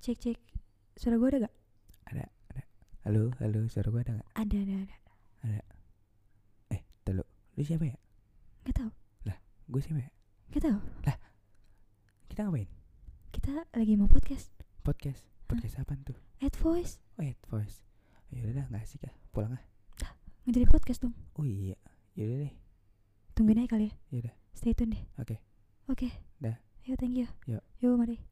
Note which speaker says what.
Speaker 1: Cek cek. Suara gue ada gak?
Speaker 2: Ada, ada. Halo, halo, suara gua ada nggak?
Speaker 1: Ada ada ada.
Speaker 2: Eh, telu. Lu siapa ya?
Speaker 1: Gak tau.
Speaker 2: Gue siapa ya?
Speaker 1: Gak tau.
Speaker 2: Kita ngapain?
Speaker 1: Kita lagi mau podcast.
Speaker 2: Podcast. Podcast apaan tuh?
Speaker 1: Ad voice.
Speaker 2: Oh, ya, voice. Yaudah dah, nggak asik ah. Pulang ah.
Speaker 1: Ngejadi podcast dong.
Speaker 2: Oh iya. Yaudah deh.
Speaker 1: Tungguin aja kali ya.
Speaker 2: Yaudah.
Speaker 1: Stay tune deh.
Speaker 2: Oke.
Speaker 1: Oke.
Speaker 2: Dah.
Speaker 1: Yo thank you.
Speaker 2: Yuk.
Speaker 1: Yo mari.